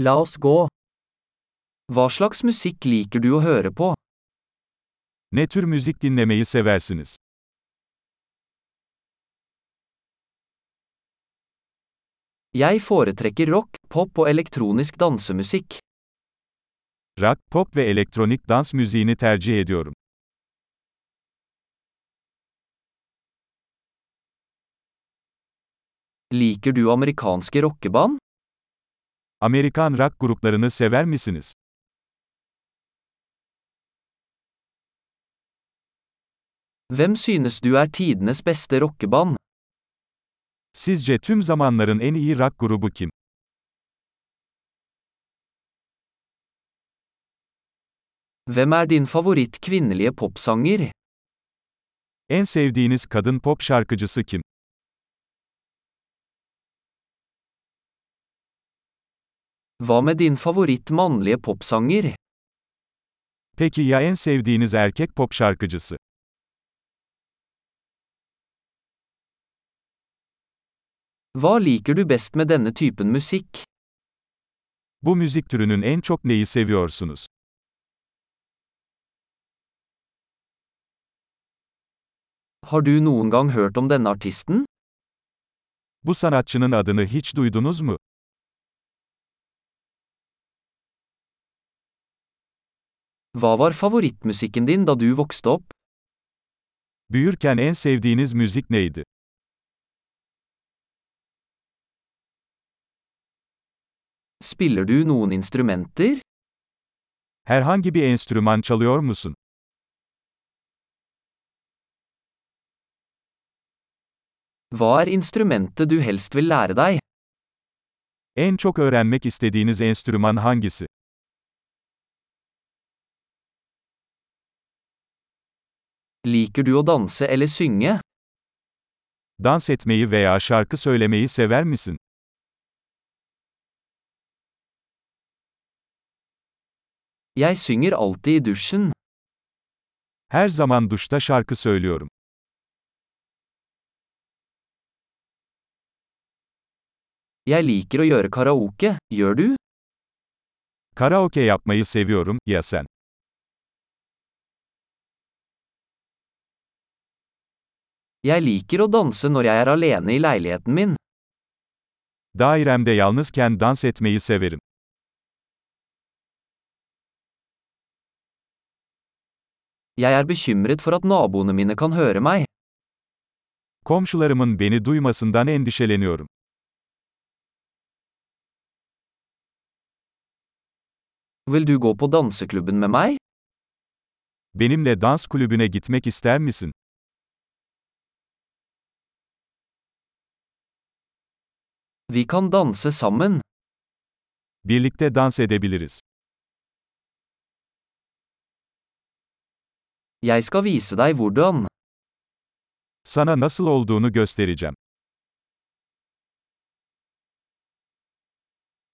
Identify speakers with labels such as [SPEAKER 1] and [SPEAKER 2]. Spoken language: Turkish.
[SPEAKER 1] La oss gå. Hva slags musikk liker du å høre på?
[SPEAKER 2] Ne tür müzik dinlemeyi seversiniz?
[SPEAKER 1] Jeg foretrekker rock, pop og elektronisk dansemusikk.
[SPEAKER 2] Rock, pop ve elektronik dans müziğini tercih ediyorum.
[SPEAKER 1] Liker du amerikanske rockeband?
[SPEAKER 2] Amerikan rock gruplarını sever misiniz?
[SPEAKER 1] Hvem synes du er tidenes beste rockeband?
[SPEAKER 2] Sizce tüm zamanların en iyi rock grubu kim?
[SPEAKER 1] Hvem er din favoritt kvinnelige popsanger?
[SPEAKER 2] En sevdiğiniz kadın pop şarkıcısı kim?
[SPEAKER 1] Hva med din favoritt mannlige popsanger?
[SPEAKER 2] Peki ya en sevdiğiniz erkek pop şarkıcısı?
[SPEAKER 1] Hva liker du best med denne typen musikk?
[SPEAKER 2] Bu müzik türünün en çok neyi seviyorsunuz?
[SPEAKER 1] Har du noen gang hørt om denne artisten?
[SPEAKER 2] Bu sanatçının adını hiç duydunuz mu?
[SPEAKER 1] Hva var favorittmusikken din da du vokste opp?
[SPEAKER 2] Büyürken en sevdiğiniz müzik neydi?
[SPEAKER 1] Spiller du noen instrumenter?
[SPEAKER 2] Herhangi bir enstrüman çalıyor musun?
[SPEAKER 1] Hva er instrumentet du helst vil lære deg?
[SPEAKER 2] En çok öğrenmek istediğiniz enstrüman hangisi?
[SPEAKER 1] Liker du å danse eller synge?
[SPEAKER 2] Dans etmeyi veya şarkı söylemeyi sever misin?
[SPEAKER 1] Jeg synger alltid i dusjen.
[SPEAKER 2] Her zaman duşta şarkı söylüyorum.
[SPEAKER 1] Jeg liker å gjøre karaoke, gjør du?
[SPEAKER 2] Karaoke yapmayı seviyorum, ya sen?
[SPEAKER 1] Jeg liker å danse når jeg er alene i leiligheten min.
[SPEAKER 2] Dairemde yalnızken dans etmeyi severim.
[SPEAKER 1] Jeg er bekymret for at naboene mine kan høre meg.
[SPEAKER 2] Komşularımın beni duymasından endişeleniyorum.
[SPEAKER 1] Vil du gå på danseklubben med meg?
[SPEAKER 2] Benimle dans kulübüne gitmek ister misin?
[SPEAKER 1] Vi kan danse sammen.
[SPEAKER 2] Birlikte dans edebiliriz.
[SPEAKER 1] Jeg skal vise deg hvordan.
[SPEAKER 2] Sana nasıl olduğunu göstereceğim.